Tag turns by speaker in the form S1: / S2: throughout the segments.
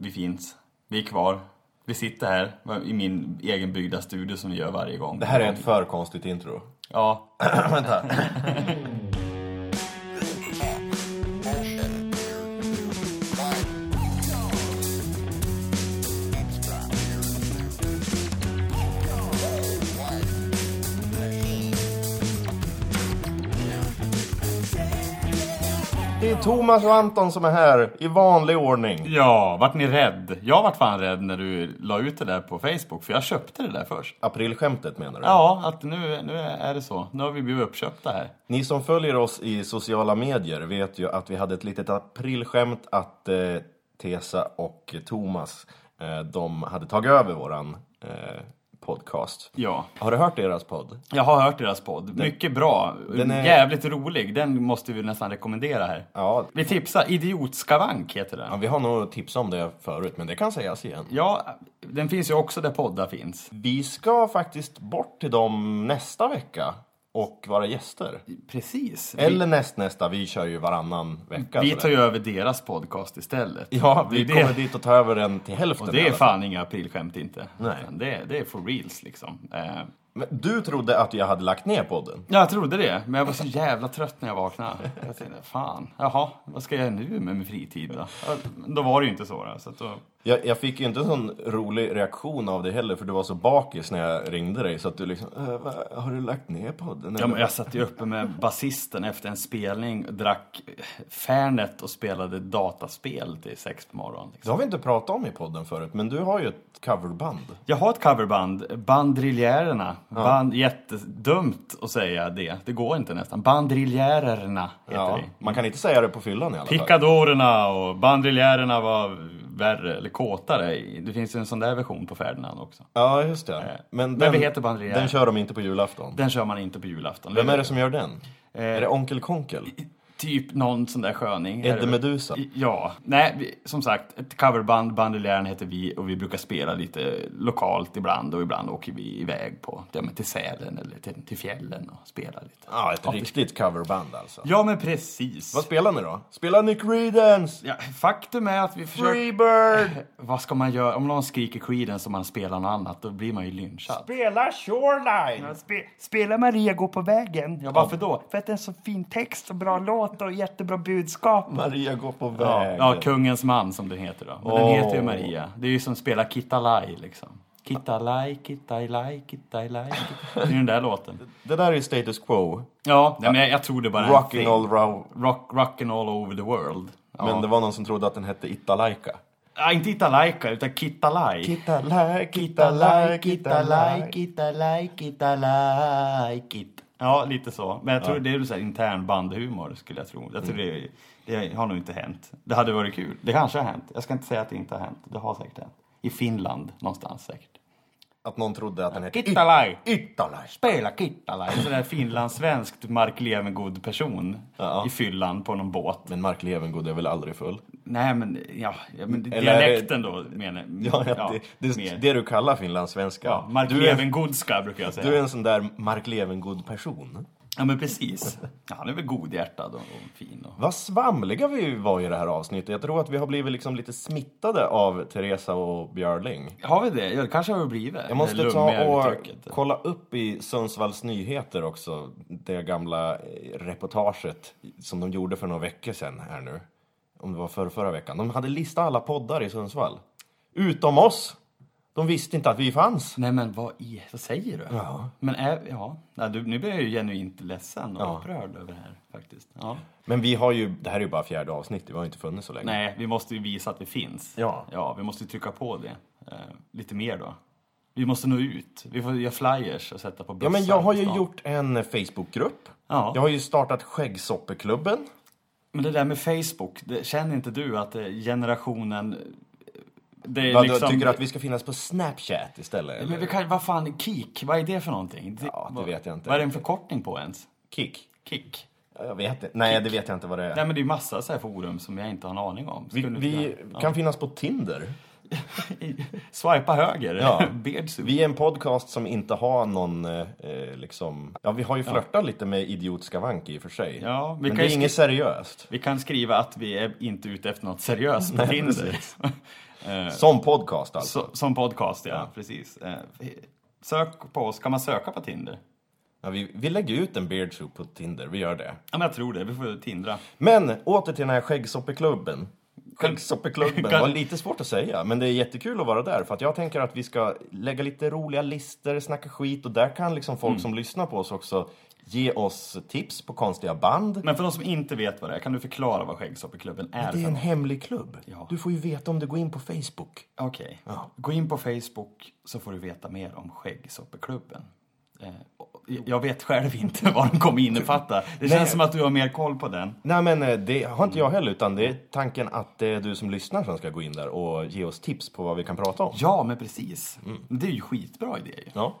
S1: vi finns. Vi är kvar. Vi sitter här i min egen byggda studio som vi gör varje gång.
S2: Det här är ett för konstigt intro.
S1: Ja,
S2: Vänta. Det är Thomas och Anton som är här i vanlig ordning.
S1: Ja, vart ni rädd? Jag vart fan rädd när du la ut det där på Facebook, för jag köpte det där först.
S2: Aprilskämtet menar du?
S1: Ja, att nu, nu är det så. Nu har vi blivit uppköpta här.
S2: Ni som följer oss i sociala medier vet ju att vi hade ett litet aprilskämt att eh, Tesa och Thomas, eh, de hade tagit över våran eh, podcast.
S1: Ja.
S2: Har du hört deras podd?
S1: Jag har hört deras podd. Mycket bra.
S2: den är-
S1: Jävligt rolig. Den måste vi nästan rekommendera här.
S2: Ja.
S1: Vi tipsar. Idiotskavank heter den.
S2: ja, vi har nog tipsat om det förut, men det kan sägas igen.
S1: Ja, den finns ju också där poddar finns.
S2: Vi ska faktiskt bort till dem nästa vecka och vara gäster.
S1: Precis.
S2: Eller nästnästa, vi kör ju varannan vecka.
S1: vi, vi
S2: sådär.
S1: tar ju över deras podcast istället.
S2: Ja,
S1: Det är
S2: vi
S1: det.
S2: kommer dit och tar över den till hälften.
S1: Och
S2: i
S1: det är
S2: alla fall.
S1: fan inga aprilskämt inte.
S2: Nej.
S1: Utan Det, det är for reals liksom. Eh,
S2: Men du trodde att jag hade lagt ner podden.
S1: jag trodde det, men jag var så jävla trött när jag vaknade. Jag tänkte, fan, jaha, vad ska jag göra nu med min fritid då? Ja, Då var det ju inte så. Då, så att då...
S2: Jag, jag fick ju inte en sån rolig reaktion av dig heller, för du var så bakis när jag ringde dig. Så att du liksom, "Eh, vad- har du lagt ner podden?
S1: Ja,
S2: eller?"
S1: men jag satt ju uppe med basisten efter en spelning, drack Fernet och spelade dataspel till sex på morgonen. Liksom.
S2: Det har vi inte pratat om i podden förut, men du har ju ett coverband.
S1: Jag har ett coverband, Bandriljärerna. Band, jättedumt att säga det, det går inte nästan. Bandriljärerna heter
S2: Ja,
S1: vi.
S2: man kan inte säga det på fyllan i alla fall.
S1: Picadorerna och bandriljärerna var värre, eller kåtare. Det finns ju en sån där version på Ferdinand också.
S2: Ja, just det. Men den,
S1: vi heter Bandrier.
S2: den kör de inte på julafton.
S1: Den kör man inte på julafton.
S2: Vem är det som gör den?
S1: Eh,
S2: Är det Onkel Konkel?
S1: Typ någon sån där sköning. Är det
S2: Edde
S1: väl?
S2: Meduza?
S1: Ja, nej, vi, som sagt, ett coverband, Bandelieren heter vi och vi brukar spela lite lokalt ibland och ibland åker vi iväg på, ja, men till Sälen eller till, till fjällen och spelar lite.
S2: Ja, ett riktigt coverband alltså.
S1: Ja, men precis.
S2: Vad spelar ni då? Spelar ni Creedence?
S1: Ja, faktum är att vi försöker...
S2: Freebird?
S1: Vad ska man göra? Om någon skriker Creedence och man spelar något annat, då blir man ju lynchad.
S2: Spela Shoreline?
S3: Spela Maria gå på vägen.
S1: Ja, varför då?
S3: För att det är en så fin text och bra låt och jättebra budskap.
S2: Maria går på
S1: Ja,
S2: vägen.
S1: ja, Kungens man som den heter då. Men
S2: Åh.
S1: den heter ju Maria. Det är ju som spelar Kittalaj liksom. Kittalaj, Kittalaj, Kittalaj. Det är ju den där låten.
S2: Det där är ju status quo.
S1: Ja, nej, men jag, jag tror det bara är en
S2: Rocking
S1: thing.
S2: all row.
S1: Rock, rockin' all over the world. Ja.
S2: Men det var någon som trodde att den hette Italaika.
S1: Ja, inte Italaika, utan Kittalaj.
S2: Kitalaika,
S1: Kittalaj, Kittalaj, Kitt. Ja, lite så. Men jag tror det är väl så här intern bandhumor, skulle jag tro. Jag tror
S2: Mm.
S1: det, det har nog inte hänt. Det hade varit kul. Det kanske har hänt. Jag ska inte säga att det inte har hänt. Det har säkert hänt. I Finland, någonstans säkert.
S2: Att någon trodde att den hette It-
S1: Kittalaj!
S2: Italaika.
S1: Spela Kittalaj! En sån där finlandssvensk Mark Levengood-person i fyllan på någon båt.
S2: Men Mark Levengood är väl aldrig full?
S1: Nej, men, ja, ja, men
S2: Eller är det-
S1: dialekten då menar
S2: Ja, det, det,
S1: mer.
S2: det du kallar finlandssvenska.
S1: ja, Mark
S2: du, är,
S1: Levengoodska brukar jag säga.
S2: du är en sån där Mark Levengood-person.
S1: Ja, men precis. Ja, han är väl godhjärtad och, och fin. Och...
S2: Vad svamliga vi var i det här avsnittet. Jag tror att vi har blivit liksom lite smittade av Teresa och Björling.
S1: Har vi det? Ja, det kanske har vi blivit.
S2: Jag måste
S1: Det
S2: ta
S1: lummiga
S2: och
S1: uttrycket.
S2: kolla upp i Sundsvalls Nyheter också, det gamla eh, reportaget som de gjorde för några veckor sedan här nu. Om det var förra, förra veckan. De hade listat alla poddar i Sundsvall. Utom oss! De visste inte att vi fanns.
S1: Nej, men vad, i, vad säger du?
S2: Ja.
S1: Men är, ja. Nej, du, nu blir jag ju genuint ledsen och
S2: Ja.
S1: upprörd över det här faktiskt. Ja.
S2: Men vi har ju, det här är ju bara fjärde avsnittet, vi har ju inte funnits så länge.
S1: Nej, vi måste ju visa att vi finns.
S2: Ja.
S1: ja vi måste ju trycka på det. Eh, lite mer då. Vi måste nå ut. Vi får göra flyers och sätta på bussar.
S2: Ja, men jag har
S1: på
S2: ju
S1: stan.
S2: gjort en Facebookgrupp.
S1: Ja.
S2: Jag har ju startat Skäggsoppeklubben.
S1: Men det där med Facebook, det, känner inte du att det är generationen... Det är
S2: Vad,
S1: liksom...
S2: Tycker du att vi ska finnas på Snapchat istället? Eller?
S1: Men vi kan, vad fan, KIK, vad är det för någonting?
S2: Ja, det
S1: vad-
S2: vet jag inte.
S1: Vad är det en förkortning på ens?
S2: Kick?
S1: KIK?
S2: Ja, Jag vet inte. Nej, det vet jag inte vad det är.
S1: Nej men det är ju massa så här forum som jag inte har en aning om.
S2: vi
S1: Skulle
S2: vi kan finnas på Tinder.
S1: kunna- Swipa höger,
S2: Ja.
S1: Beardsuit.
S2: Vi är en podcast som inte har någon, eh, eh, liksom... Ja, vi har ju flörtat lite med idiotskavank i och för sig.
S1: Ja, vi
S2: Men
S1: kan
S2: det är
S1: ju
S2: inget seriöst.
S1: Vi kan skriva att vi är inte ute efter något seriöst på Tinder. Eh,
S2: Som podcast alltså.
S1: så, som podcast, ja. Precis. Eh, sök på oss. Kan man söka på Tinder?
S2: Ja, vi, vi lägger ut en beard soup på Tinder, vi gör det.
S1: Ja, men jag tror det. Vi får tindra.
S2: Men åter till den här skäggsoppeklubben. Skäggsoppeklubben
S1: Kan-
S2: var lite svårt att säga, men det är jättekul att vara där. För att jag tänker att vi ska lägga lite roliga listor, snacka skit och där kan liksom
S1: Mm.
S2: folk som lyssnar på oss också ge oss tips på konstiga band.
S1: Men för de som inte vet vad det är, kan du förklara vad Skäggsoppeklubben är?
S2: Det är
S1: för
S2: en
S1: något?
S2: hemlig klubb.
S1: Ja.
S2: Du får ju veta om du går in på Facebook.
S1: Okej. Gå in på Facebook så får du veta mer om Skäggsoppeklubben. Eh, och jag vet själv inte vad de kommer innefatta. Det känns som att du har mer koll på den.
S2: Nej men eh, det har inte jag
S1: Mm.
S2: heller, utan det är tanken att det är du som lyssnar som ska gå in där och ge oss tips på vad vi kan prata om.
S1: Ja, Mm. men precis. Det är ju skitbra idé ju.
S2: Ja.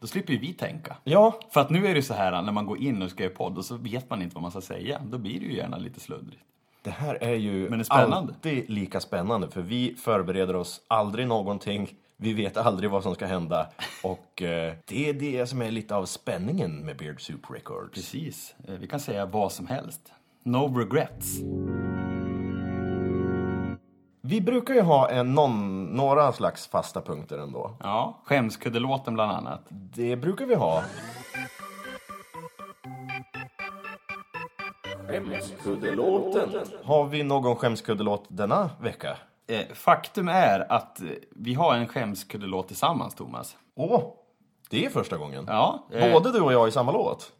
S1: Då slipper ju vi tänka.
S2: Ja,
S1: För att nu är det så här när man går in och ska göra podd och så vet man inte vad man ska säga. Då blir det ju gärna lite sluddrigt.
S2: Det här är ju
S1: Men det är spännande.
S2: alltid lika spännande för vi förbereder oss aldrig någonting. Vi vet aldrig vad som ska hända och eh, det är det som är lite av spänningen med Beard Soup Records.
S1: Precis. Eh, Vi kan säga vad som helst. No regrets.
S2: Vi brukar ju ha en, någon, några slags fasta punkter ändå.
S1: Ja, skämskuddelåten bland annat.
S2: Det brukar vi ha. Skämskuddelåten. Har vi någon skämskuddelåt denna vecka?
S1: Eh, Faktum är att eh, vi har en skämskuddelåt tillsammans, Thomas.
S2: Åh, det är första gången.
S1: Ja, eh,
S2: Både du och jag i samma låt.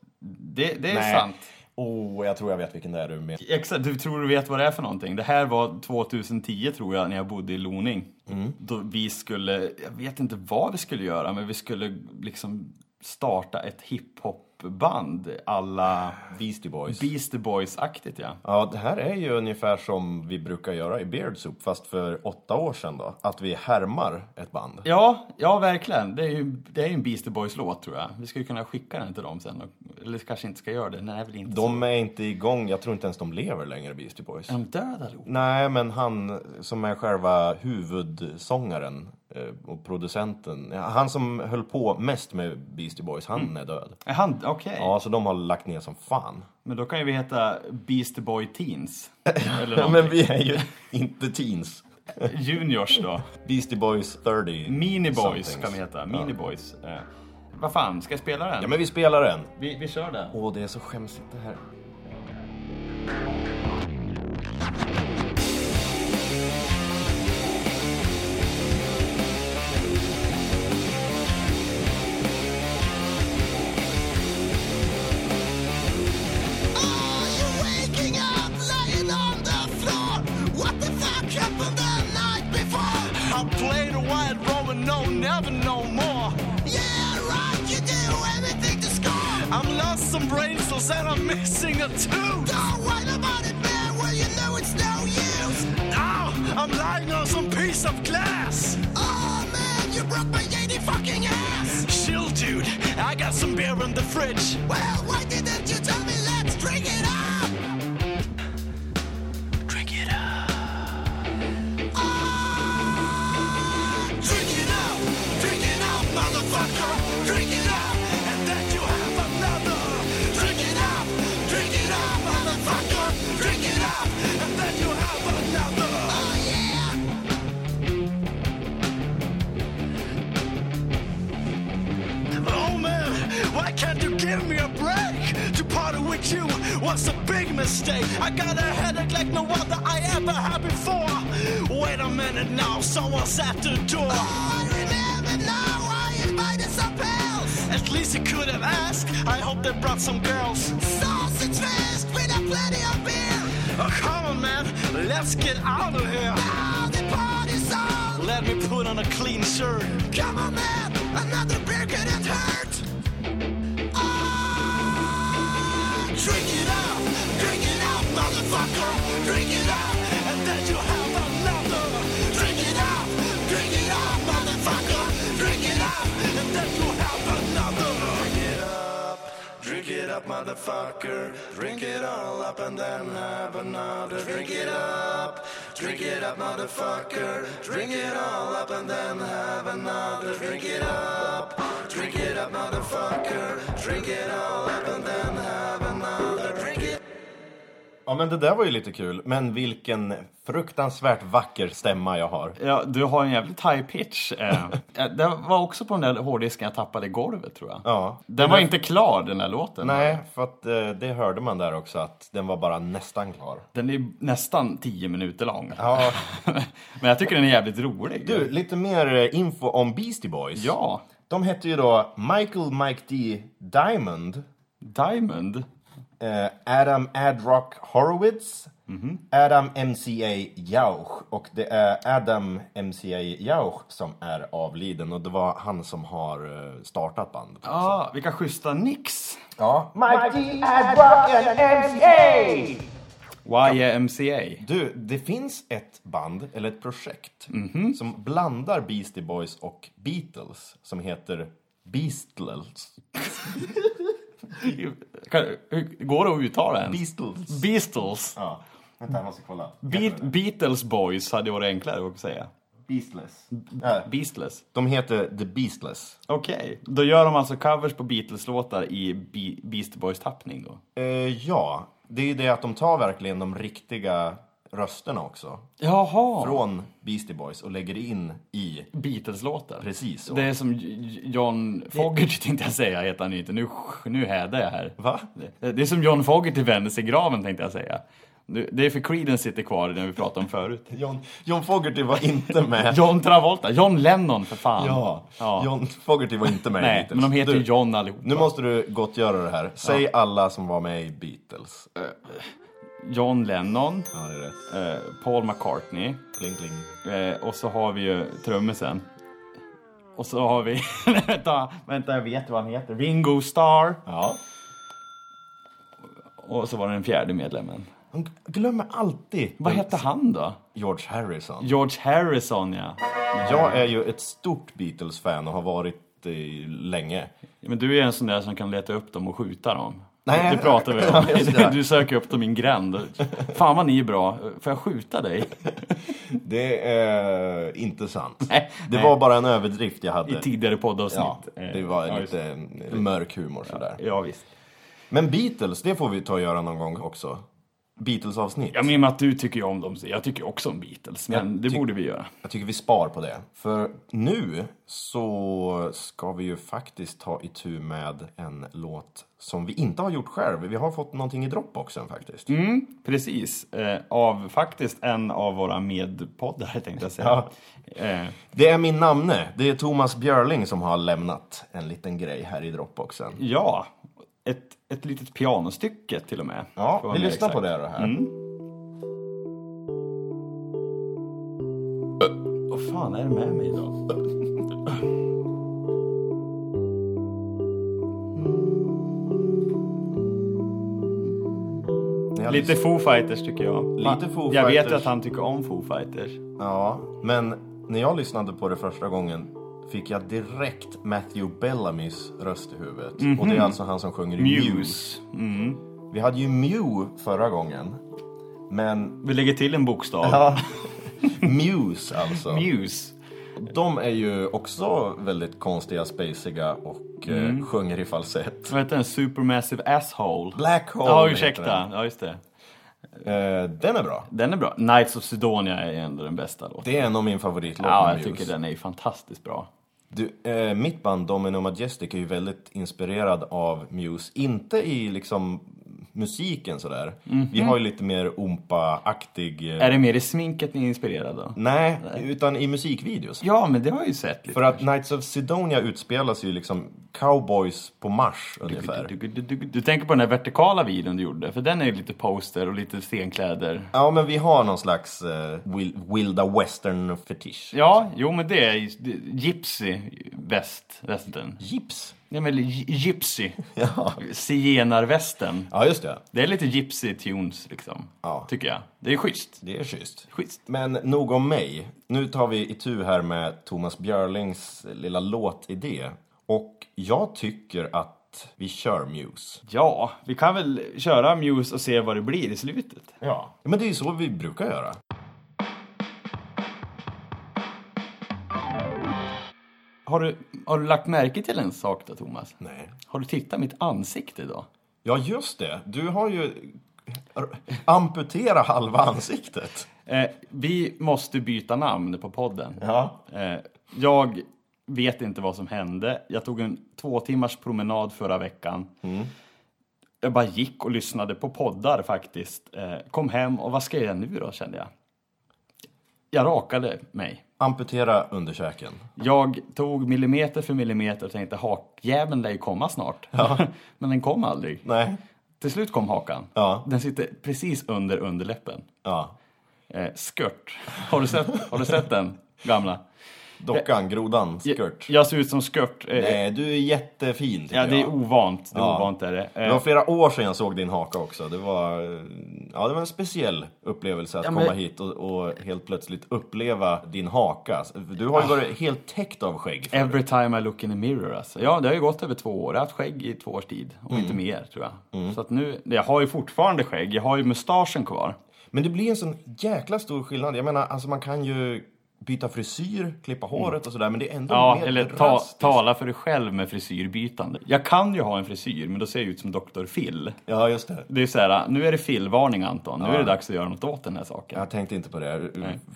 S1: det, det är
S2: Nej.
S1: sant.
S2: Oh, jag tror jag vet vilken det är du menar.
S1: Exakt, du tror du vet vad det är för någonting. Det här var 2010 tror jag, när jag bodde i Loning.
S2: Mm.
S1: Då vi skulle, jag vet inte vad vi skulle göra, men vi skulle liksom starta ett hiphopband alla
S2: Beastie Boys.
S1: Beastie Boys-aktigt ja.
S2: ja, det här är ju ungefär som vi brukar göra i Beard Soup, fast för åtta år sedan då. Att vi härmar ett band.
S1: Ja, ja verkligen. Det är ju det är ju en Beastie Boys-låt tror jag. Vi skulle kunna skicka den till dem sen. och- Eller kanske inte ska göra det, den är väl inte så...
S2: De är inte igång, jag tror inte ens de lever längre, Beastie Boys.
S1: Är de döda då?
S2: Nej, men han som är själva huvudsångaren eh, och producenten. ja, Han som höll på mest med Beastie Boys, han
S1: Mm.
S2: är död.
S1: Är han, okej.
S2: Ja, så de har lagt ner som fan.
S1: Men då kan ju vi heta Beastie Boy Teens. Eller
S2: Ja,
S1: någonting.
S2: men vi är ju inte teens.
S1: Juniors då.
S2: Beastie Boys 30.
S1: Mini Boys
S2: somethings.
S1: kan vi heta. Mini Boys. Eh, vad fan, ska jag spela den?
S2: Ja, men vi spelar den.
S1: vi, vi kör den.
S2: Åh, det är så skämsigt det här.
S4: Are you waking up laying on the floor? What the fuck happened the night before?
S5: I played a white Roman, no, never, no more.
S4: Yeah, right, you do anything to score.
S5: I'm lost some brain cells and I'm missing a tooth.
S4: Don't worry about it, man, well, you know it's no use.
S5: Ow! I'm lying on some piece of glass.
S4: Oh, man, you broke my yeti fucking ass.
S5: Chill, dude. I got some beer in the fridge.
S4: Well, why didn't you tell me let's drink it up?
S5: Drink it up.
S4: Ah, Drink it up, drink it up, motherfucker. Drink it up, and then you have another. Drink it up, drink it up, motherfucker. Drink it up, and then you have another. Oh yeah.
S5: Oh man, why can't you give me a break? To party with you was a big mistake. I got a headache like no other I ever had before. Wait a minute now, someone's at the door.
S4: I remember now. I invited some pals.
S5: At least you could have asked. I hope they brought some girls.
S4: Sausage fest with a plenty of beer.
S5: Oh, come on, man. Let's get out of here.
S4: Now the party's on.
S5: Let me put on a clean shirt.
S4: Come on, man. Another beer couldn't hurt.
S5: Ah, Drink it up, drink it up, motherfucker. Drink it up, and then you have another. Drink it up, drink it up, motherfucker. Drink it up, and then you have another. Drink it up, drink it up, motherfucker. Drink it all up and then have another. Drink it up, drink it up, motherfucker. Drink it all up and then have another. Drink it up, drink it up, motherfucker. Drink it all up and then have another. Drink it.
S2: Ja men det där var ju lite kul. Men vilken fruktansvärt vacker stämma jag har.
S1: Ja, du har en jävligt high pitch. Eh. det var också på den där hårddisken jag tappade i golvet tror jag.
S2: Ja.
S1: Den var inte klar den här låten.
S2: Nej, för att eh, det hörde man där också att den var bara nästan klar.
S1: Den är nästan 10 minuter lång.
S2: Ja,
S1: Men jag tycker den är jävligt rolig.
S2: du, lite mer eh, info om Beastie Boys.
S1: Ja,
S2: De hette ju då Michael Mike D Diamond,
S1: Diamond.
S2: eh, Adam Adrock Horowitz, Adam MCA Jauch. Och det är Adam MCA Jauch som är avliden och det var han som har eh, startat bandet.
S1: Ja, vilka schyssta nicks.
S2: Ja,
S1: YMCA.
S2: Du, det finns ett band, eller ett projekt, som blandar Beastie Boys och Beatles som heter Beastles.
S1: Kan, hur- går det att uttala ens?
S2: Beastles.
S1: Beastles.
S2: Ja. Vänta, jag måste kolla.
S1: Beat, Beatles Boys hade varit enklare att säga.
S2: Beastles. Ja,
S1: Beastless.
S2: Äh, de heter The Beastless.
S1: Okej, då gör de alltså covers på Beatles-låtar i Be- Beast Boys-tappning då?
S2: Eh, ja, det är ju det att de tar verkligen de riktiga rösterna också
S1: Jaha!
S2: från Beastie Boys och lägger in i
S1: Beatles-låtar?
S2: precis så.
S1: Det är som J- J- John Fogerty tänkte jag säga, heter han ju inte. Nu, nu hädar jag här.
S2: Va?
S1: Det det är som John Fogerty vänder sig i graven tänkte jag säga. Nu- Det är för Creedence sitter kvar i den vi pratade om förut.
S2: John, John Fogerty var inte med.
S1: John Travolta, John Lennon för fan.
S2: Ja,
S1: Ja.
S2: John Fogerty var inte med i
S1: Nej,
S2: Beatles.
S1: men de heter
S2: Du,
S1: ju John allihop.
S2: Nu måste du gottgöra det här. Säg alla som var med i Beatles.
S1: John Lennon,
S2: Ja, det är rätt.
S1: eh, Paul McCartney
S2: Kling, kling.
S1: eh, och så har vi ju trummisen. Och så har vi, vänta, vänta jag vet vad han heter, Ringo Starr.
S2: Ja.
S1: Och så var det den fjärde medlemmen.
S2: De g- glömmer alltid
S1: Vad hette han då?
S2: George Harrison.
S1: George Harrison ja.
S2: Jag är ju ett stort Beatles-fan och har varit eh, länge.
S1: Ja, Men du är ju en sån där som kan leta upp dem och skjuta dem.
S2: Nej.
S1: Det pratar vi
S2: Ja, just
S1: om.
S2: det.
S1: Du söker upp dem i en gränd. Fan vad ni är bra. Får jag skjuta dig?
S2: Det är inte sant.
S1: Nej.
S2: Det
S1: Nej.
S2: var bara en överdrift jag hade.
S1: I tidigare poddavsnitt.
S2: Ja, det var lite eh, mörk humor sådär.
S1: Ja, visst.
S2: Men Beatles, det får vi ta och göra någon gång också. Beatles-avsnitt.
S1: Jag menar att du tycker ju om dem. så Jag tycker också om Beatles. Men det borde vi göra.
S2: Jag tycker vi spar på det. För nu så ska vi ju faktiskt ta itu med en låt som vi inte har gjort själv. Vi har fått någonting i Dropboxen faktiskt.
S1: Mm. Precis. Eh, av faktiskt en av våra medpoddare tänkte jag säga. Eh,
S2: Det är min namne. Det är Thomas Björling som har lämnat en liten grej här i Dropboxen.
S1: ja. Ett, ett litet pianostycke till och med. Får
S2: Ja,
S1: vara
S2: vi
S1: mer
S2: lyssnar på
S1: exakt. Mm.
S2: det då här.
S1: Vad fan är det med mig idag?
S2: När jag
S1: Lite Foo Fighters tycker jag.
S2: Lite Foo
S1: Jag vet
S2: Fighters.
S1: att han tycker om Foo Fighters.
S2: Ja, men när jag lyssnade på det första gången fick jag direkt Matthew Bellamys röst i huvudet. Och det är alltså han som sjunger i Muse.
S1: Mhm. Muse.
S2: Vi hade ju Mew förra gången. Men
S1: Vi lägger till en bokstav.
S2: Muse alltså.
S1: Muse.
S2: De är ju också väldigt konstiga, spaciga och eh,
S1: Mm.
S2: sjunger i falsett.
S1: Vad heter den? Supermassive Asshole.
S2: Black Hole
S1: Ja,
S2: heter
S1: ursäkta. Ja, just det.
S2: Den. Eh, den är bra.
S1: Den är bra. Knights of Sidonia är ändå den bästa låten.
S2: Det är en av min favoritlåtar
S1: Ja,
S2: med
S1: jag
S2: Muse.
S1: tycker den är ju fantastiskt bra.
S2: Du, eh, mitt band Domino Majestic är ju väldigt inspirerad av Muse. Inte i liksom musiken sådär. Vi har ju lite mer ompa-aktig... eh,
S1: Mhm. Är det mer i sminket ni är inspirerade av?
S2: Nej, utan i musikvideos.
S1: Ja, men det har jag ju sett lite.
S2: För att Knights of Sidonia utspelas ju liksom cowboys på Mars ungefär.
S1: Du, du, du, du, du tänker på den här vertikala videon du gjorde, för den är ju lite poster och lite stenkläder.
S2: Ja, men vi har någon slags eh, wil- wilda western-fetisch.
S1: Ja, jo men det är ju det- Gypsy väst, västen.
S2: Gips.
S1: Nej men gy- Gypsy.
S2: Ja.
S1: Zigenarvästen.
S2: ja, just det.
S1: Det är lite Gypsy tunes liksom,
S2: Ja.
S1: tycker jag. Det är schysst.
S2: Det är schysst.
S1: Schysst.
S2: Men nog om mig. Nu tar vi itu här med Thomas Björlings lilla låtidé. Och jag tycker att vi kör Muse.
S1: Ja, vi kan väl köra Muse och se vad det blir i slutet.
S2: Ja. Men det är ju så vi brukar göra.
S1: Har du, har du lagt märke till en sak då, Thomas?
S2: Nej.
S1: Har du tittat mitt ansikte idag?
S2: Ja, just det. Du har ju Amputera halva ansiktet.
S1: Eh, vi måste byta namn på podden.
S2: Ja.
S1: Eh, jag vet inte vad som hände. Jag tog en två timmars promenad förra veckan.
S2: Mm.
S1: Jag bara gick och lyssnade på poddar faktiskt. Eh, kom hem och vad ska jag göra nu då kände jag. Jag rakade mig.
S2: Amputera underkäken.
S1: Jag tog millimeter för millimeter och tänkte hakjäveln lär ju komma snart. Men den kom aldrig.
S2: Nej.
S1: Till slut kom hakan.
S2: Ja.
S1: Den sitter precis under underläppen.
S2: Ja.
S1: Eh, skört. Har du sett, har du sett den gamla?
S2: Dockan, grodan,
S1: Jag-
S2: skört.
S1: Jag ser ut som skört. Eh,
S2: Nej, du är jättefin tycker
S1: ja, det är
S2: jag.
S1: ovant. Det är
S2: Ja.
S1: ovant är det. Eh,
S2: Det var flera år sedan jag såg din haka också. Det var, eh, ja, det var en speciell upplevelse att
S1: Ja, men-
S2: komma hit och, och helt plötsligt uppleva din haka. Du
S1: Ah.
S2: har ju varit helt täckt av skägg.
S1: Every time I look in the mirror alltså. Ja, det har ju gått över två år. Jag har haft skägg i två års tid. Om inte mer tror jag. Så att nu, jag har ju fortfarande skägg. Jag har ju mustaschen kvar.
S2: Men det blir en sån jäkla stor skillnad. Jag menar, alltså man kan ju byta frisyr, klippa håret och sådär, men det är ändå
S1: Mm. Ja,
S2: mer
S1: eller ta,
S2: drastiskt.
S1: tala för dig själv med frisyrbytande. Jag kan ju ha en frisyr, men då ser jag ut som Dr. Phil.
S2: Ja, just det.
S1: Det är så här, nu är det Phil-varning Anton. Nu är det dags att göra något åt den här saken.
S2: Jag tänkte inte på det.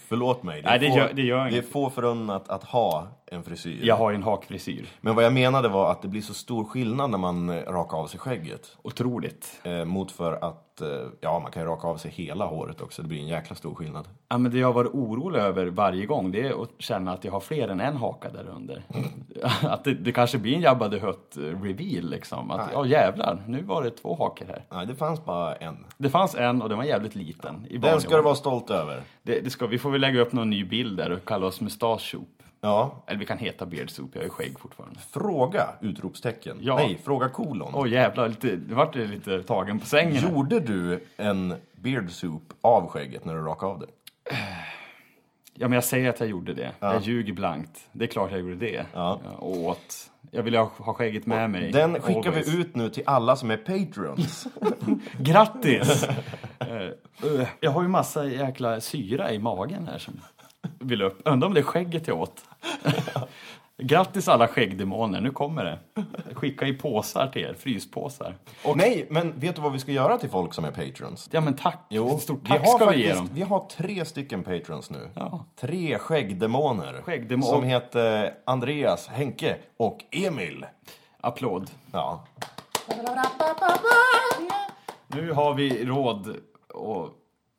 S2: Förlåt mig.
S1: Nej, det gör- det gör
S2: det är
S1: inget.
S2: få förunnat att ha en frisyr.
S1: Jag har ju en hakfrisyr.
S2: Men vad jag menade var att det blir så stor skillnad när man eh, rakar av sig skägget.
S1: Otroligt.
S2: Eh, mot för att, eh, ja man kan ju raka av sig hela håret också. Det blir en jäkla stor skillnad.
S1: Ja, men det jag har varit orolig över varje gång det är att känna att jag har fler än en haka där under. att det, det kanske blir en Jabba the Hutt-reveal liksom. Att, ja jävlar, nu var det två hakor här.
S2: Nej, det fanns bara en.
S1: Det fanns en och den var jävligt liten. I
S2: Den
S1: vanlig
S2: ska du
S1: ordning.
S2: vara stolt över.
S1: det, det ska, vi får väl lägga upp någon ny bild där och kalla oss Mustache Soup.
S2: Ja.
S1: Eller vi kan heta Beard Soup, jag har ju skägg fortfarande.
S2: Fråga! Utropstecken.
S1: Ja.
S2: Nej, fråga kolon.
S1: Åh jävlar, lite, det vart det lite tagen på sängen. här.
S2: Gjorde du en beard soup av skägget när du rakade av det?
S1: Ja, men jag säger att jag gjorde det. Jag ljuger blankt. Det är klart jag gjorde det.
S2: Ja.
S1: Och åt. Jag ville ha, ha skägget med mig.
S2: Den skickar
S1: Always.
S2: vi ut nu till alla som är patrons.
S1: Grattis! Eh, eh, jag har ju massa jäkla syra i magen här som vill upp. Undrar om det är skägget jag åt. Grattis alla skäggdemoner, nu kommer det. Skicka i påsar till er, fryspåsar.
S2: Och nej, men vet du vad vi ska göra till folk som är patrons?
S1: Ja men tack, stort tack
S2: vi har
S1: ska vi
S2: faktiskt,
S1: ge dem.
S2: Vi har tre stycken patrons nu.
S1: Ja.
S2: Tre skäggdemoner.
S1: Skäggdemon-
S2: Som heter Andreas, Henke och Emil.
S1: Applåd.
S2: Ja.
S1: Nu har vi råd och...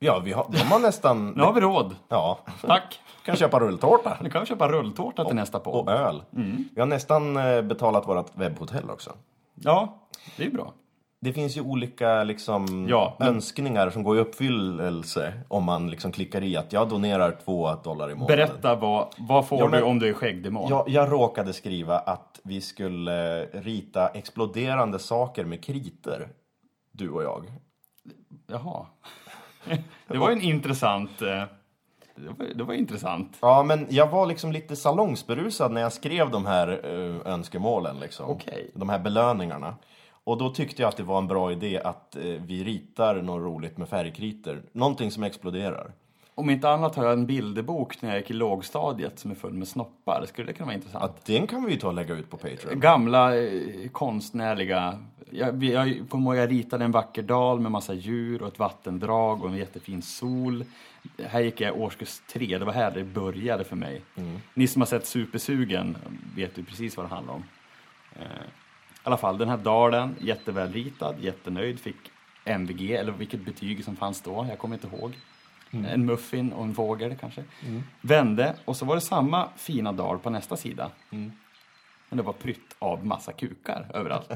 S2: Ja, vi har, de har nästan...
S1: Nu har vi råd.
S2: Ja,
S1: Tack!
S2: kan köpa rulltårta.
S1: Nu kan vi köpa rulltårta till nästa podd.
S2: Och öl.
S1: Mm.
S2: Vi har nästan eh, betalat vårt webbhotell också.
S1: Ja, det är bra.
S2: Det finns ju olika liksom,
S1: Ja, men-
S2: önskningar som går i uppfyllelse om man liksom klickar i att jag donerar två dollar i månaden.
S1: Berätta vad, vad får
S2: Ja, men-
S1: du om du är skäggdemon?
S2: Jag, jag råkade skriva att vi skulle eh, rita exploderande saker med kriter. Du och jag.
S1: Jaha. Det var ju en intressant... eh, Det var, det var intressant.
S2: Ja, men jag var liksom lite salongsberusad när jag skrev de här eh, önskemålen. Liksom.
S1: Okej.
S2: De här belöningarna. Och då tyckte jag att det var en bra idé att eh, vi ritar något roligt med färgkriter. Någonting som exploderar.
S1: Om inte annat har jag en bilderbok när jag gick i lågstadiet som är full med snoppar. Skulle det kunna vara intressant?
S2: Att den kan vi ju ta och lägga ut på Patreon.
S1: Gamla eh, konstnärliga... Jag, vi- jag kommer ihåg jag ritade en vacker dal med massa djur och ett vattendrag och en jättefin sol. Här gick jag i årskurs tre, det var här det började för mig. Ni som har sett Supersugen vet ju precis vad det handlar om. Eh, I alla fall, den här dalen, jättevälritad, jättenöjd, fick MVG, eller vilket betyg som fanns då, jag kommer inte ihåg. En muffin och en vågel kanske. Vände, och så var det samma fina dal på nästa sida. Men det var prytt av massa kukar överallt.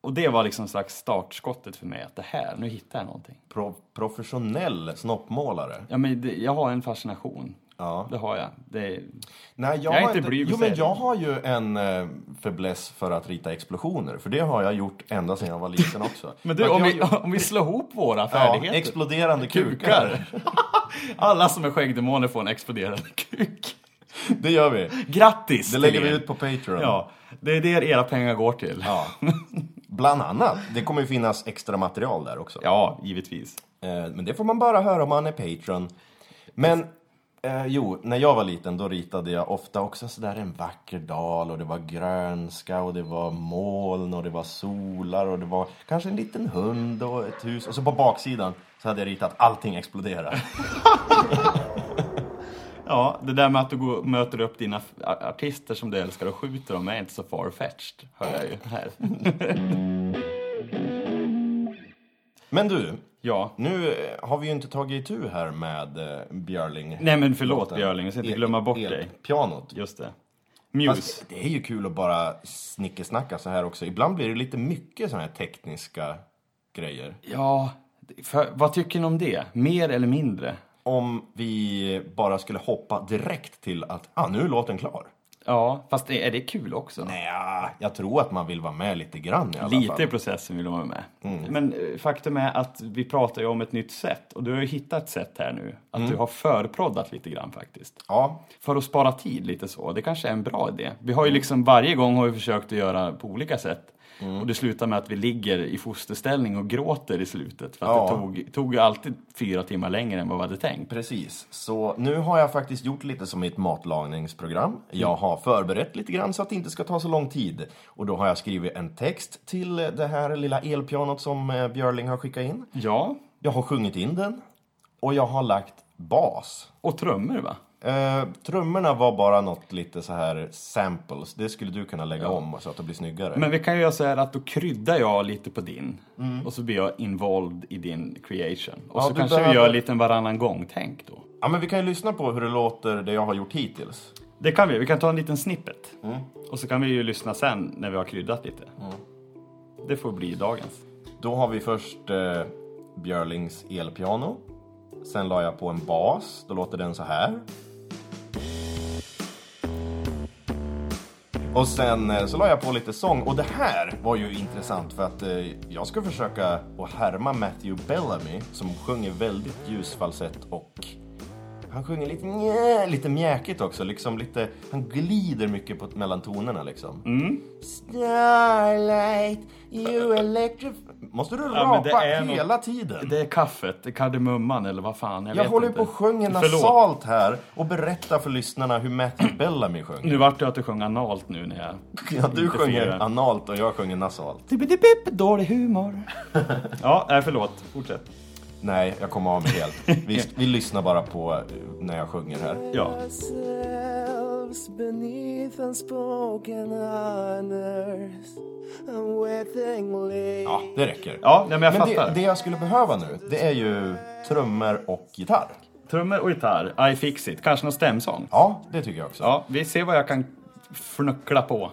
S1: Och det var liksom slags startskottet för mig att det här, nu hittar jag någonting.
S2: Pro- professionell snoppmålare.
S1: Ja, men det, jag har en fascination.
S2: Ja.
S1: Det har jag. Det,
S2: Nej, jag,
S1: är
S2: har
S1: inte blyg,
S2: Jo,
S1: säger
S2: men
S1: jag.
S2: jag har ju en eh, fäbless för att rita explosioner. För det har jag gjort ända sedan jag var liten också.
S1: men du,
S2: Att
S1: om
S2: jag
S1: vi, om vi slår ihop våra
S2: Ja,
S1: färdigheter.
S2: exploderande kukar.
S1: kukar. Alla som är skäggdemoner får en exploderande kuk.
S2: Det gör vi.
S1: Grattis!
S2: Det
S1: till
S2: lägger
S1: er.
S2: vi ut på Patreon.
S1: Ja, det är det era pengar går till. Ja,
S2: Ja. Bland annat. Det kommer ju finnas extra material där också.
S1: givetvis.
S2: Eh, Men det får man bara höra om man är Patreon. Men Eh, jo, när jag var liten då ritade jag ofta också sådär en vacker dal och det var grönska och det var moln och det var solar och det var kanske en liten hund och ett hus. Och så på baksidan så hade jag ritat allting exploderar.
S1: Ja, det där med att du går, möter upp dina f- a- artister som du älskar och skjuter dem är inte så far-fetched, hör jag ju här.
S2: Men du,
S1: Ja.
S2: nu eh, har vi ju inte tagit itu här med eh, Björling.
S1: Nej men förlåt Björling, jag ska inte glömma bort dig.
S2: Pianot.
S1: Just det.
S2: Fast
S1: Muse.
S2: det är ju kul att bara snickesnacka så här också. Ibland blir det lite mycket sådana här tekniska grejer.
S1: Ja, för, vad tycker ni om det? Mer eller mindre?
S2: Om vi bara skulle hoppa direkt till att ah, nu är låten klar.
S1: Ja, fast är är det kul också?
S2: Nja, jag tror att man vill vara med lite grann i alla
S1: Lite i
S2: fall.
S1: processen vill de vara med. Men eh, faktum är att vi pratar ju om ett nytt sätt och du har ju hittat ett sätt här nu. Att du har förproddat lite grann faktiskt.
S2: Ja,
S1: För att spara tid lite så. Det kanske är en bra idé. Vi
S2: Mm.
S1: har ju liksom varje gång har vi försökt att göra på olika sätt.
S2: Mm.
S1: Och det slutar med att vi ligger i fosterställning och gråter i slutet. För att
S2: Ja.
S1: det tog, tog ju alltid fyra timmar längre än vad vi hade tänkt.
S2: precis. Så nu har jag faktiskt gjort lite som i ett matlagningsprogram. Jag har förberett lite grann så att det inte ska ta så lång tid. Och då har jag skrivit en text till det här lilla elpianot som eh, Björling har skickat in.
S1: Ja,
S2: Jag har sjungit in den och jag har lagt bas.
S1: och trummor va?
S2: Eh, trummorna var bara något lite så här samples. Det skulle du kunna lägga om så att det blir snyggare.
S1: Men vi kan ju göra så här att då kryddar jag lite på din och så blir jag involved i din creation. Och
S2: Mm. Ja,
S1: så
S2: du
S1: kanske
S2: behöver-
S1: vi gör lite en varannan gång-tänk då.
S2: Ja, men vi kan ju lyssna på hur det låter det jag har gjort hittills.
S1: Det kan vi, vi kan ta en liten snippet.
S2: Mm.
S1: Och så kan vi ju lyssna sen när vi har kryddat lite. Det får bli dagens.
S2: Då har vi först eh, Björlings elpiano. Sen la jag på en bas. Då låter den så här. Och sen eh, så la jag på lite sång. Och det här var ju intressant för att eh, jag ska försöka att härma Matthew Bellamy som sjunger väldigt ljus falsett och han sjunger lite, mjä, lite mjäkigt också. Liksom lite, han glider mycket på, mellan tonerna liksom.
S1: Mm.
S2: Starlight, you electric... Måste du
S1: Ja, men
S2: rapa
S1: det är något-
S2: hela tiden?
S1: Det är kaffet, det är kardemumman eller vad fan, jag,
S2: Jag
S1: vet
S2: håller ju
S1: inte.
S2: på och sjunger
S1: Förlåt.
S2: nasalt här och berättar för lyssnarna hur Matthew Bellamy sjunger.
S1: Nu vart det att du sjöng analt nu när jag...
S2: Ja, du
S1: Mm. inte
S2: sjunger
S1: firar.
S2: analt och jag sjunger nasalt.
S1: Tibbidi-bip, dålig humor. ja, nej förlåt, fortsätt.
S2: Nej, jag kommer av mig helt. Vi, vi lyssnar bara på eh, när jag sjunger här.
S1: Ja.
S6: ourselves beneath unspoken honors unwittingly.
S2: Ja, det räcker.
S1: Ja, nej, men jag
S2: Men det,
S1: fattar.
S2: det jag skulle behöva nu, det är ju trummor och gitarr.
S1: Trummor och gitarr, I fix it. Kanske någon stämsång.
S2: Ja, det tycker jag också. Ja,
S1: Ja, vi ser vad jag kan fnuckla på.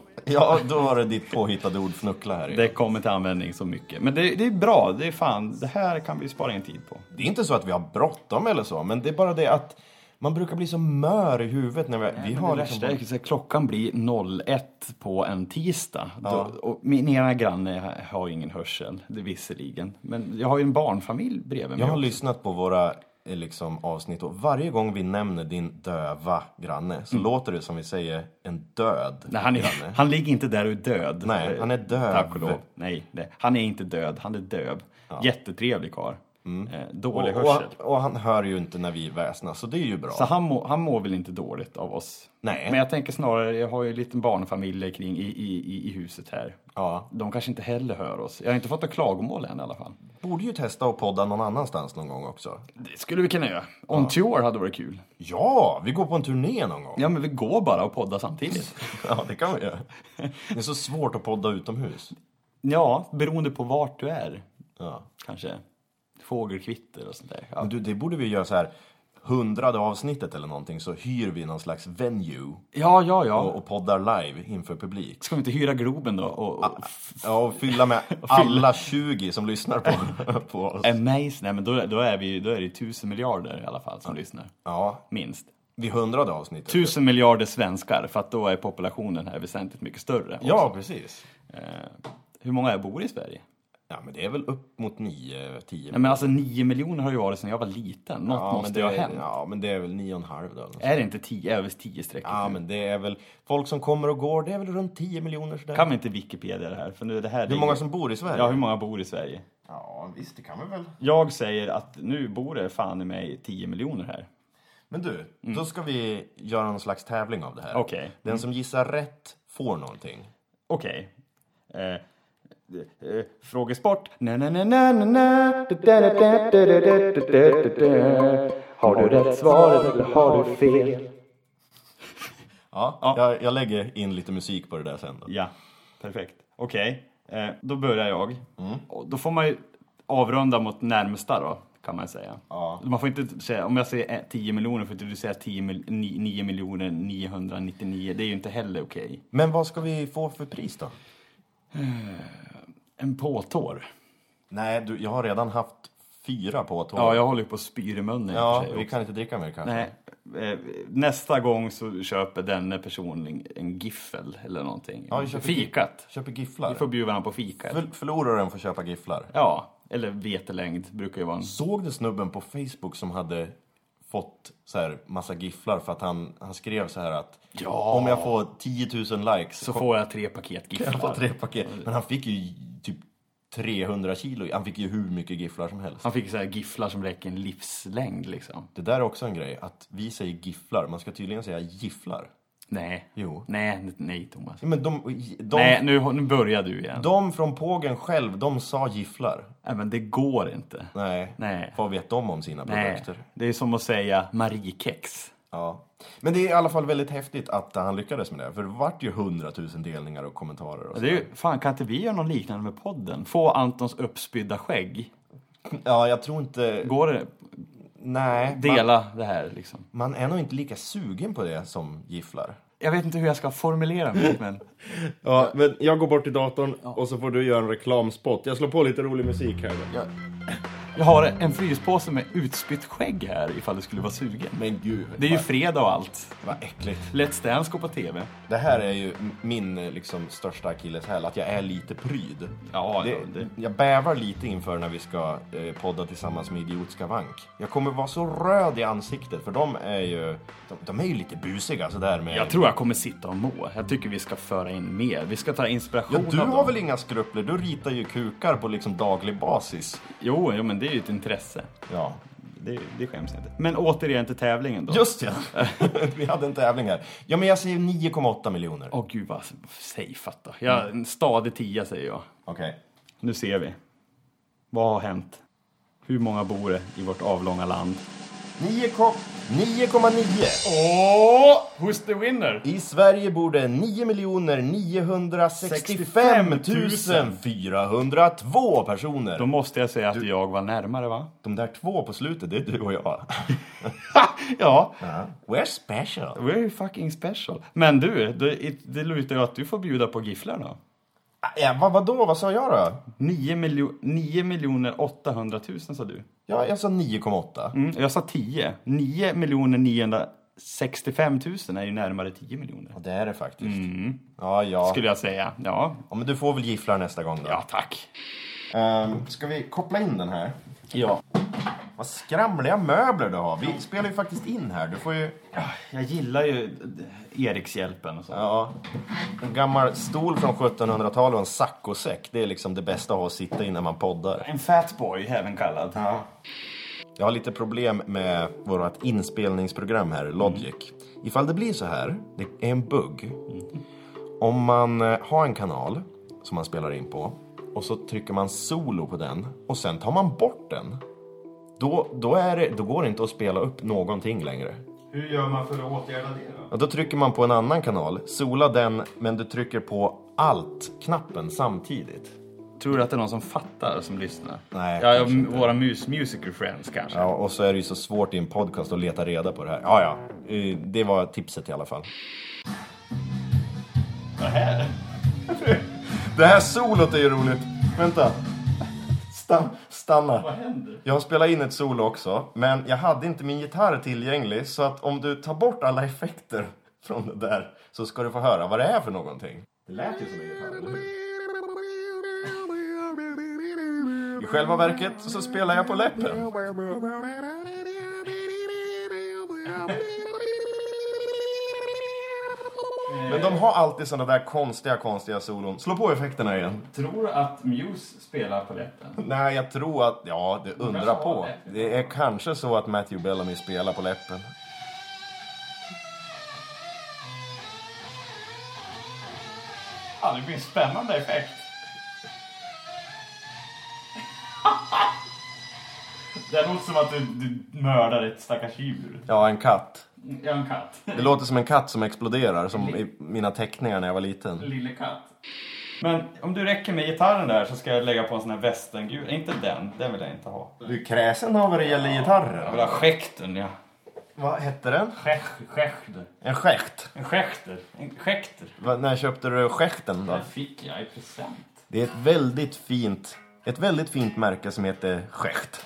S2: då var det ditt påhittade ord fnuckla här.
S1: Det
S2: Det...
S1: kommer till användning så mycket. Men det, det är bra, det är fan, det här kan vi spara in tid på.
S2: det är inte så att vi har bråttom eller så, men det är bara det att man brukar bli så mör i huvudet när vi, vi
S1: Men
S2: har
S1: det
S2: liksom...
S1: värsta är att klockan blir 01 på en tisdag. Då, och min ena granne har ju ingen hörsel, det visserligen. Men jag har ju en barnfamilj bredvid
S2: Jag
S1: mig.
S2: har
S1: också.
S2: lyssnat på våra eh, liksom, avsnitt och varje gång vi nämner din döva granne så låter det som vi säger en död
S1: Mm. Nej, han, är,
S2: granne.
S1: han ligger inte där och är död.
S2: Nej, han är döv.
S1: Tack och lov. Nej, nej, han är inte död, han är döv. Jättetrevlig karl. Eh,
S2: Och,
S1: dålig hörsel.
S2: och, och han hör ju inte när vi väsnas, så det är ju bra.
S1: Så han, må, han mår väl inte dåligt av oss?
S2: Nej.
S1: Men jag tänker snarare, jag har ju en liten barnfamilj kring i, i, i- i huset här.
S2: Ja.
S1: De kanske inte heller hör oss. Jag har inte fått några klagomål än i alla fall.
S2: Borde ju testa att podda någon annanstans någon gång också.
S1: Det skulle vi kunna göra. On tour hade varit kul.
S2: Ja, vi går på en turné någon gång.
S1: Ja, men vi går bara och poddar samtidigt.
S2: Ja, det kan vi göra. Det är så svårt att podda utomhus.
S1: Ja, beroende på vart du är.
S2: Ja.
S1: Kanske fågelkvitter och sånt där. Ja.
S2: Men du, det borde vi göra så här hundrade avsnittet eller någonting så hyr vi någon slags venue
S1: ja, ja, ja.
S2: och, och poddar live inför publik.
S1: Ska vi inte hyra Globen då? Och,
S2: Ah.
S1: och f-
S2: Ja, och fylla med alla 20 som lyssnar på, på oss.
S1: amaze? Nej, men då, då, är vi, då är det tusen miljarder i alla fall
S2: Ah.
S1: som lyssnar.
S2: Ja,
S1: Minst.
S2: vid hundrade avsnittet.
S1: tusen miljarder svenskar för att då är populationen här väsentligt mycket större.
S2: Ja, precis.
S1: Eh, hur många är bor i Sverige?
S2: Ja, men det är väl upp mot 9, 10.
S1: Nej, men alltså 9 miljoner har ju varit sedan jag var liten. Något
S2: ja,
S1: måste
S2: det
S1: ju ha
S2: är,
S1: hänt.
S2: Ja, men det är väl 9,5 då.
S1: Är det inte 10, över 10 strecket?
S2: Ja, men det är väl folk som kommer och går. Det är väl runt 10 miljoner sådär.
S1: Kan vi inte Wikipedia det här? För nu, det här
S2: Hur många som bor i Sverige?
S1: Ja, hur många bor i Sverige?
S2: Ja, visst, det kan vi väl.
S1: Jag säger att nu bor det fan i mig 10 miljoner här.
S2: Men du, då ska vi göra någon slags tävling av det här.
S1: Mm. Okej. Mm.
S2: Den som gissar rätt får någonting.
S1: Okej. Eh, eh, frågesport. Na, na, na, na, na, na. Da, da, da, da, da, da, da, da, da, da. Har du rätt svar eller har du fel?
S2: Ja,
S1: Ja.
S2: Jag, jag lägger in lite musik på det där sen. Då.
S1: Ja, perfekt. Okej, eh, då börjar jag. Och Då får man ju avrunda mot närmsta då, kan man säga.
S2: Ja.
S1: Man får inte säga, om jag säger eh, 10 miljoner får inte du säga 10 mil, ni- 9 miljoner 999. Det är ju inte heller okej.
S2: Men vad ska vi få för pris då?
S1: En påtår.
S2: Nej, du, jag har redan haft fyra på tåg.
S1: Ja, jag håller ju på att spyr i munnen. i och
S2: ja
S1: för sig
S2: vi
S1: också.
S2: kan inte dricka mer kanske.
S1: Nej, eh, nästa gång så köper den personen en giffel eller någonting.
S2: Ja, vi köper
S1: Fikat.
S2: Köper gifflar.
S1: Vi får bjuda honom på fika.
S2: För, förloraren får köpa gifflar.
S1: Ja, eller vetelängd brukar ju vara en...
S2: Såg du snubben på Facebook som hade fått så här massa gifflar för att han, han skrev så här att
S1: Ja.
S2: om jag får 10 000 likes
S1: Så får jag tre paket
S2: jag
S1: gifflar.
S2: få tre paket. Men han fick ju typ 300 kilo. Han fick ju hur mycket gifflar som helst.
S1: Han fick så här gifflar som räcker en livslängd liksom.
S2: Det där är också en grej, att vi säger gifflar. Man ska tydligen säga gifflar.
S1: Nej.
S2: Jo.
S1: Nej, nej Thomas.
S2: Ja, Men de, de,
S1: Nej, nu, nu börjar du igen.
S2: de från pågen själv, de sa gifflar.
S1: Nej, men det går inte.
S2: Nej.
S1: Nej.
S2: Vad vet de om sina
S1: Nej.
S2: produkter?
S1: Det är som att säga Mariekex.
S2: Ja. Men det är i alla fall väldigt häftigt att han lyckades med det. För det vart ju hundratusen delningar och kommentarer. Och
S1: Det är ju, fan, kan inte vi göra något liknande med podden? Få Antons uppspydda skägg.
S2: så. Ja, jag tror inte...
S1: Går det?
S2: Nej. Man,
S1: Dela det här liksom.
S2: man är nog inte lika sugen på det som gifflar.
S1: Jag vet inte hur jag ska formulera mig, men...
S7: Ja, men jag går bort till datorn och så får du göra en reklamspot. Jag slår på lite rolig musik här. då.
S1: Jag har en fryspåse med utspytt skägg här ifall du skulle vara sugen.
S2: Men gud,
S1: Det är ju fredag och allt.
S2: vad äckligt.
S1: Let's Dance går på TV.
S2: Det här är ju m- min eh, liksom, största akilleshäl, att jag är lite pryd.
S1: Ja,
S2: det,
S1: det-
S2: Jag bävar lite inför när vi ska eh, podda tillsammans med Idiotska Vank. Jag kommer vara så röd i ansiktet, för de är ju, de, de är ju lite busiga sådär med...
S1: Jag tror jag kommer sitta och må. Jag tycker vi ska föra in mer. Vi ska ta inspiration
S2: Ja, du
S1: av
S2: har
S1: dem.
S2: väl inga skrupler? Du ritar ju kukar på liksom daglig basis.
S1: Jo, jo, men det är ju ett intresse.
S2: Ja.
S1: Det, det skäms jag inte. Men återigen till tävlingen då.
S2: Just ja! vi hade en tävling här. Ja, men jag säger 9,8 miljoner.
S1: Åh gud vad safeat då. Jag, en stadig tia säger jag.
S2: Okej.
S1: Nu ser vi. Vad har hänt? Hur många bor det i vårt avlånga land?
S2: 9,9! 9,9.
S1: Åh! Who's the winner?
S2: I Sverige bor det 9 965 402 personer.
S1: Då
S2: De,
S1: måste jag säga att jag var närmare va?
S2: där två på slutet, det är du och jag.
S1: ja,
S2: Ja. We're special.
S1: we're fucking special. Men du, det, det lutar ju att du får bjuda på gifflar då.
S2: Ja, vad, vadå, vad sa jag då?
S1: 9, miljo- 9 miljoner 800 000 sa du.
S2: Ja, jag sa 9,8.
S1: Mm, jag sa 10. 9 miljoner 965 000 är ju närmare 10 miljoner.
S2: Ja, det är det faktiskt. Ja, ja.
S1: Mm. Skulle jag säga. Ja,
S2: ja. Men du får väl gifflar nästa gång då.
S1: ja tack.
S2: Ehm, ska vi koppla in den här?
S1: Ja.
S2: Vad skramliga möbler du har. Vi spelar ju faktiskt in här. Du får ju...
S1: Jag gillar ju Erikshjälpen och så.
S2: Ja. En gammal stol från 1700-talet och en saccosäck. Det är liksom det bästa att ha att sitta i när man poddar.
S1: En fatboy, även kallad.
S2: Jag har lite problem med vårt inspelningsprogram här, Logic. Ifall det blir så här, det är en bugg. Om man eh, har en kanal som man spelar in på och så trycker man solo på den och sen tar man bort den. Då, då, är det, då går det inte att spela upp någonting längre.
S1: Hur gör man för att åtgärda det då?
S2: Ja, då trycker man på en annan kanal, sola den, men du trycker på alt-knappen samtidigt.
S1: Tror du att det är någon som fattar som lyssnar?
S2: Nej,
S1: Ja, ja,
S2: kanske inte.
S1: våra mus musical friends kanske.
S2: Ja, och så är det ju så svårt i en podcast att leta reda på det här. Ja, ja, eh, det var tipset i alla fall. Det här? det här solot är ju roligt. Vänta. Stan, stanna. Vad händer? Jag har spelat in ett solo också, men jag hade inte min gitarr tillgänglig så att om du tar bort alla effekter från det där så ska du få höra vad det är för någonting. Det lät ju som en gitarr, eller hur? I själva verket så spelar jag på läppen. Men de har alltid såna där konstiga, konstiga solon. Slå på effekterna igen.
S1: Tror du att Muse spelar på läppen?
S2: Nej, jag tror att... Ja, det undrar på. Det är kanske så att Matthew Bellamy spelar på läppen.
S1: Ja, det blir en spännande effekt. Det låter som att du, du mördar ett stackars djur.
S2: Ja, en katt.
S1: Ja, en katt.
S2: Det låter som en katt som exploderar, som i mina teckningar när jag var liten.
S1: Lille katt. Men om du räcker med gitarren där så ska jag lägga på en sån här västerngul. Inte den, den vill jag inte ha.
S2: Du är kräsen av vad det gäller
S1: Jag
S2: gitarrer.
S1: vill ha skäkten, ja.
S2: Vad hette den?
S1: Skäk- Skäkter.
S2: En skäkt.
S1: En skäkter. En skäkter.
S2: Va- När köpte du skäkten då?
S1: Den fick jag i present.
S2: Det är ett väldigt fint, ett väldigt fint märke som heter Skächt.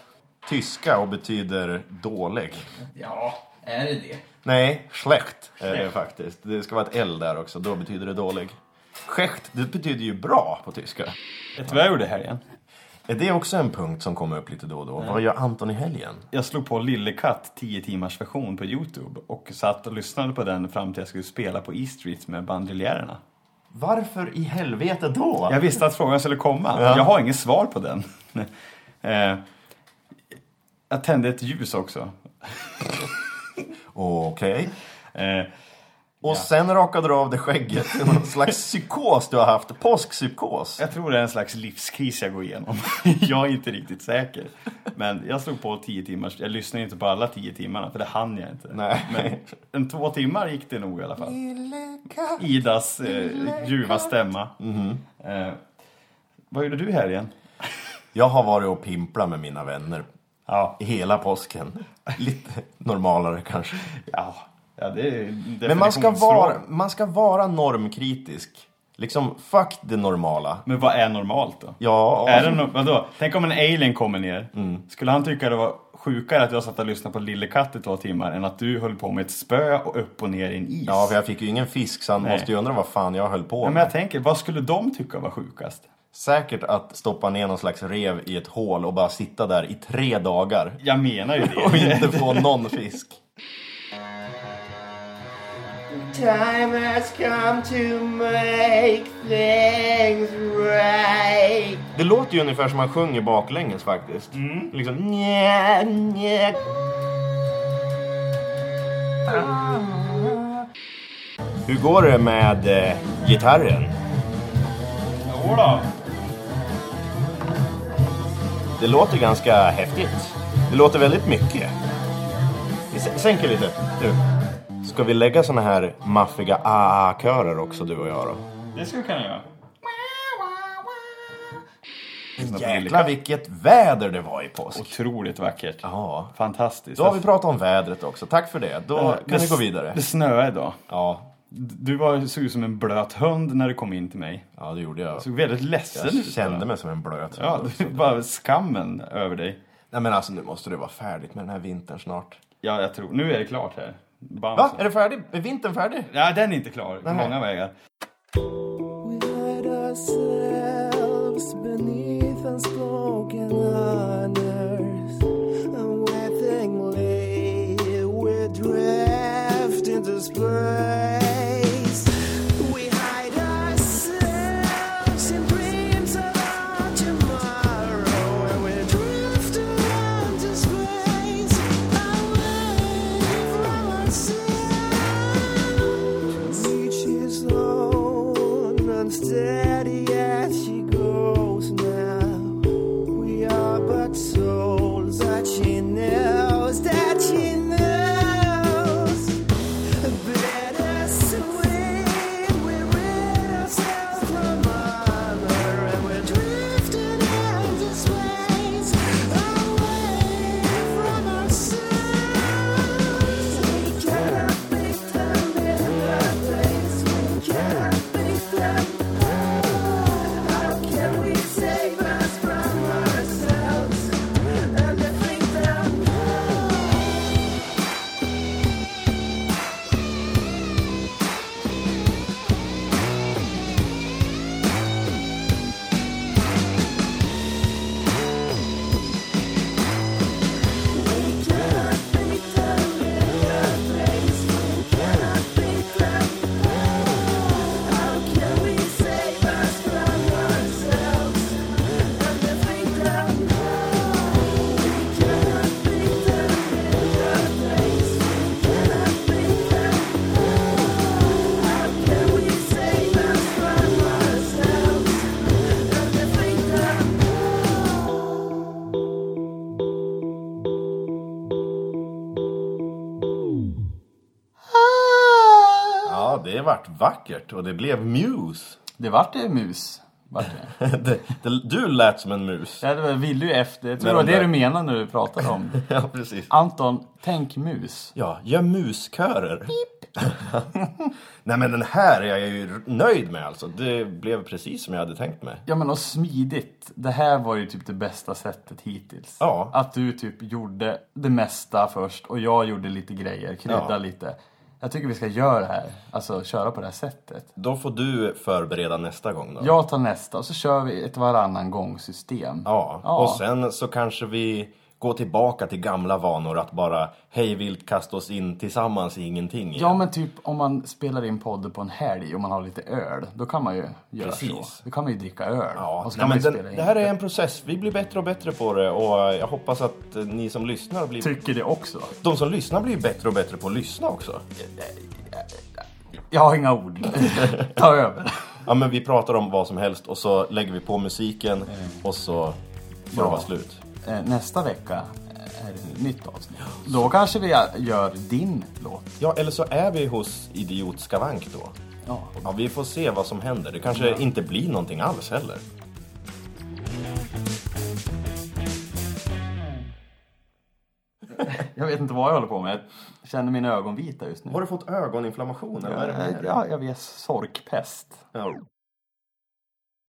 S2: Tyska och betyder dålig.
S1: Ja, är det det?
S2: Nej, schlecht är det
S1: Schlecht.
S2: faktiskt. Det ska vara ett L där också, då betyder det dålig. Skächt, det betyder ju bra på tyska.
S1: Vet du vad jag gjorde i helgen?
S2: Är det också en punkt som kommer upp lite då och då? Vad gör Anton i helgen?
S1: Jag slog på Lillekatt 10 timmars version på Youtube och satt och lyssnade på den fram till jag skulle spela på E Street med Bandiljärerna.
S2: Varför i helvete då?
S1: Jag visste att frågan skulle komma.
S2: Ja.
S1: Jag har inget svar på den. eh, jag tände ett ljus också.
S2: Okej.
S1: Eh,
S2: Och sen rakade du av dig skägget. Det är Någon slags psykos du har haft. Påskpsykos.
S1: jag tror det är en slags livskris jag går igenom. jag är inte riktigt säker. Men jag slog på 10 timmars. Jag lyssnade inte på alla 10 timmarna för det hann jag inte.
S2: Nej.
S1: Men en två timmar gick det nog i alla fall. Idas eh, ljuva stämma.
S2: Mhm.
S1: Eh, vad gjorde du i helgen?
S2: Jag har varit och pimplat med mina vänner
S1: Ja,
S2: hela påsken. Lite normalare kanske.
S1: ja, ja det är
S2: Men man ska,
S1: definitionsfråga.
S2: vara, man ska vara normkritisk. Liksom, fuck det normala.
S1: Men vad är normalt då?
S2: Ja, Mm.
S1: Är det no- vadå? Tänk om en alien kommer ner. Skulle han tycka det var sjukare att jag satt och lyssnade på Lille Katt i två timmar än att du höll på med ett spö och upp och ner i en is?
S2: ja, för jag fick ju ingen fisk så han
S1: Nej.
S2: måste ju undra vad fan jag höll på
S1: Ja,
S2: med.
S1: men jag tänker, vad skulle de tycka var sjukast?
S2: Säkert att stoppa ner någon slags rev i ett hål och bara sitta där i tre dagar
S1: Jag menar ju
S2: och
S1: det.
S2: inte få någon fisk.
S6: Time has come to make things right.
S2: Det låter ju ungefär som man sjunger baklänges faktiskt.
S1: Mm.
S2: Liksom
S6: Nja, nja.
S2: Hur går det med eh, gitarren?
S1: Jo då.
S2: Det låter ganska häftigt. Det låter väldigt mycket. Vi s- sänker lite. Du. Ska vi lägga såna här maffiga a-körer också du och jag då?
S1: Det skulle jag kunna göra.
S2: Jäklar vilket väder det var i påsk.
S1: Otroligt vackert.
S2: Ja.
S1: Fantastiskt.
S2: Då har vi pratat om vädret också. Tack för det. Då kan vi gå vidare.
S1: Det snöade idag.
S2: Ja,
S1: Du var, såg ut som en blöt hund när du kom in till mig.
S2: ja det gjorde jag.
S1: Du såg väldigt ledsen
S2: Jag
S1: ut.
S2: kände mig som en blöt.
S1: Ja, det är bara skammen över dig.
S2: Nej men alltså nu måste det vara färdigt med den här vintern snart.
S1: Ja, jag tror. Nu är det klart här. Bam,
S2: Va?
S1: så.
S2: Är det färdigt? Är vintern färdig?
S1: Ja, den är inte klar. På många vägar.
S6: We hide ourselves beneath unspoken honors. Unwittingly, we drift into space. We hide ourselves in dreams of our tomorrow, and we drift into space away from ourselves. Each his own, unsteady as she goes now. We are but souls that she knows, that she knows. Better
S2: det vart vackert och det blev mus.
S1: Det vart det mus. Vart det?
S2: det, det, du lät som en mus.
S1: Ja, det var- ville ju efter. Jag tror
S2: Men
S1: det var
S2: om
S1: det
S2: det-
S1: du menade när du pratade om.
S2: ja, precis.
S1: Anton, tänk mus.
S2: Ja, gör muskörer. Nej men den här är jag ju nöjd med alltså. Det blev precis som jag hade tänkt mig.
S1: Ja men och smidigt. Det här var ju typ det bästa sättet hittills.
S2: Ja.
S1: Att du typ gjorde det mesta först och jag gjorde lite grejer, krydda
S2: Ja.
S1: lite. Jag tycker vi ska göra det här, alltså köra på det här sättet.
S2: Då får du förbereda nästa gång då.
S1: Jag tar nästa och så kör vi ett varannan gång system.
S2: Ja, och sen så kanske vi går tillbaka till gamla vanor att bara hejvilt kasta oss in tillsammans i ingenting. igen.
S1: Ja men typ om man spelar in podden på en helg och man har lite öl, då kan man ju göra
S2: Precis.
S1: så. Då kan man ju dricka öl.
S2: Ja,
S1: och så
S2: nej,
S1: kan
S2: men
S1: man ju
S2: den,
S1: spela in.
S2: det här är en process. Vi blir bättre och bättre på det och eh, jag hoppas att eh, ni som lyssnar blir...
S1: Tycker det också.
S2: De som lyssnar blir bättre och bättre på att lyssna också.
S1: Jag har inga ord. Ta över.
S2: Ja, men vi pratar om vad som helst och så lägger vi på musiken och så får det
S1: Mm. Ja.
S2: vara slut.
S1: Eh, Nästa vecka eh, är det ett nytt avsnitt. Då kanske vi gör din låt.
S2: Ja, eller så är vi hos Idiot Skavank då.
S1: Ja.
S2: Ja, vi får se vad som händer. Det kanske inte blir någonting alls heller.
S1: Jag vet inte vad jag håller på med. Jag känner mina ögon vita just nu.
S2: Har du fått ögoninflammation eller? vad är det med
S1: Eh,
S2: det?
S1: Ja, jag vet. Sorkpest.
S2: Ja.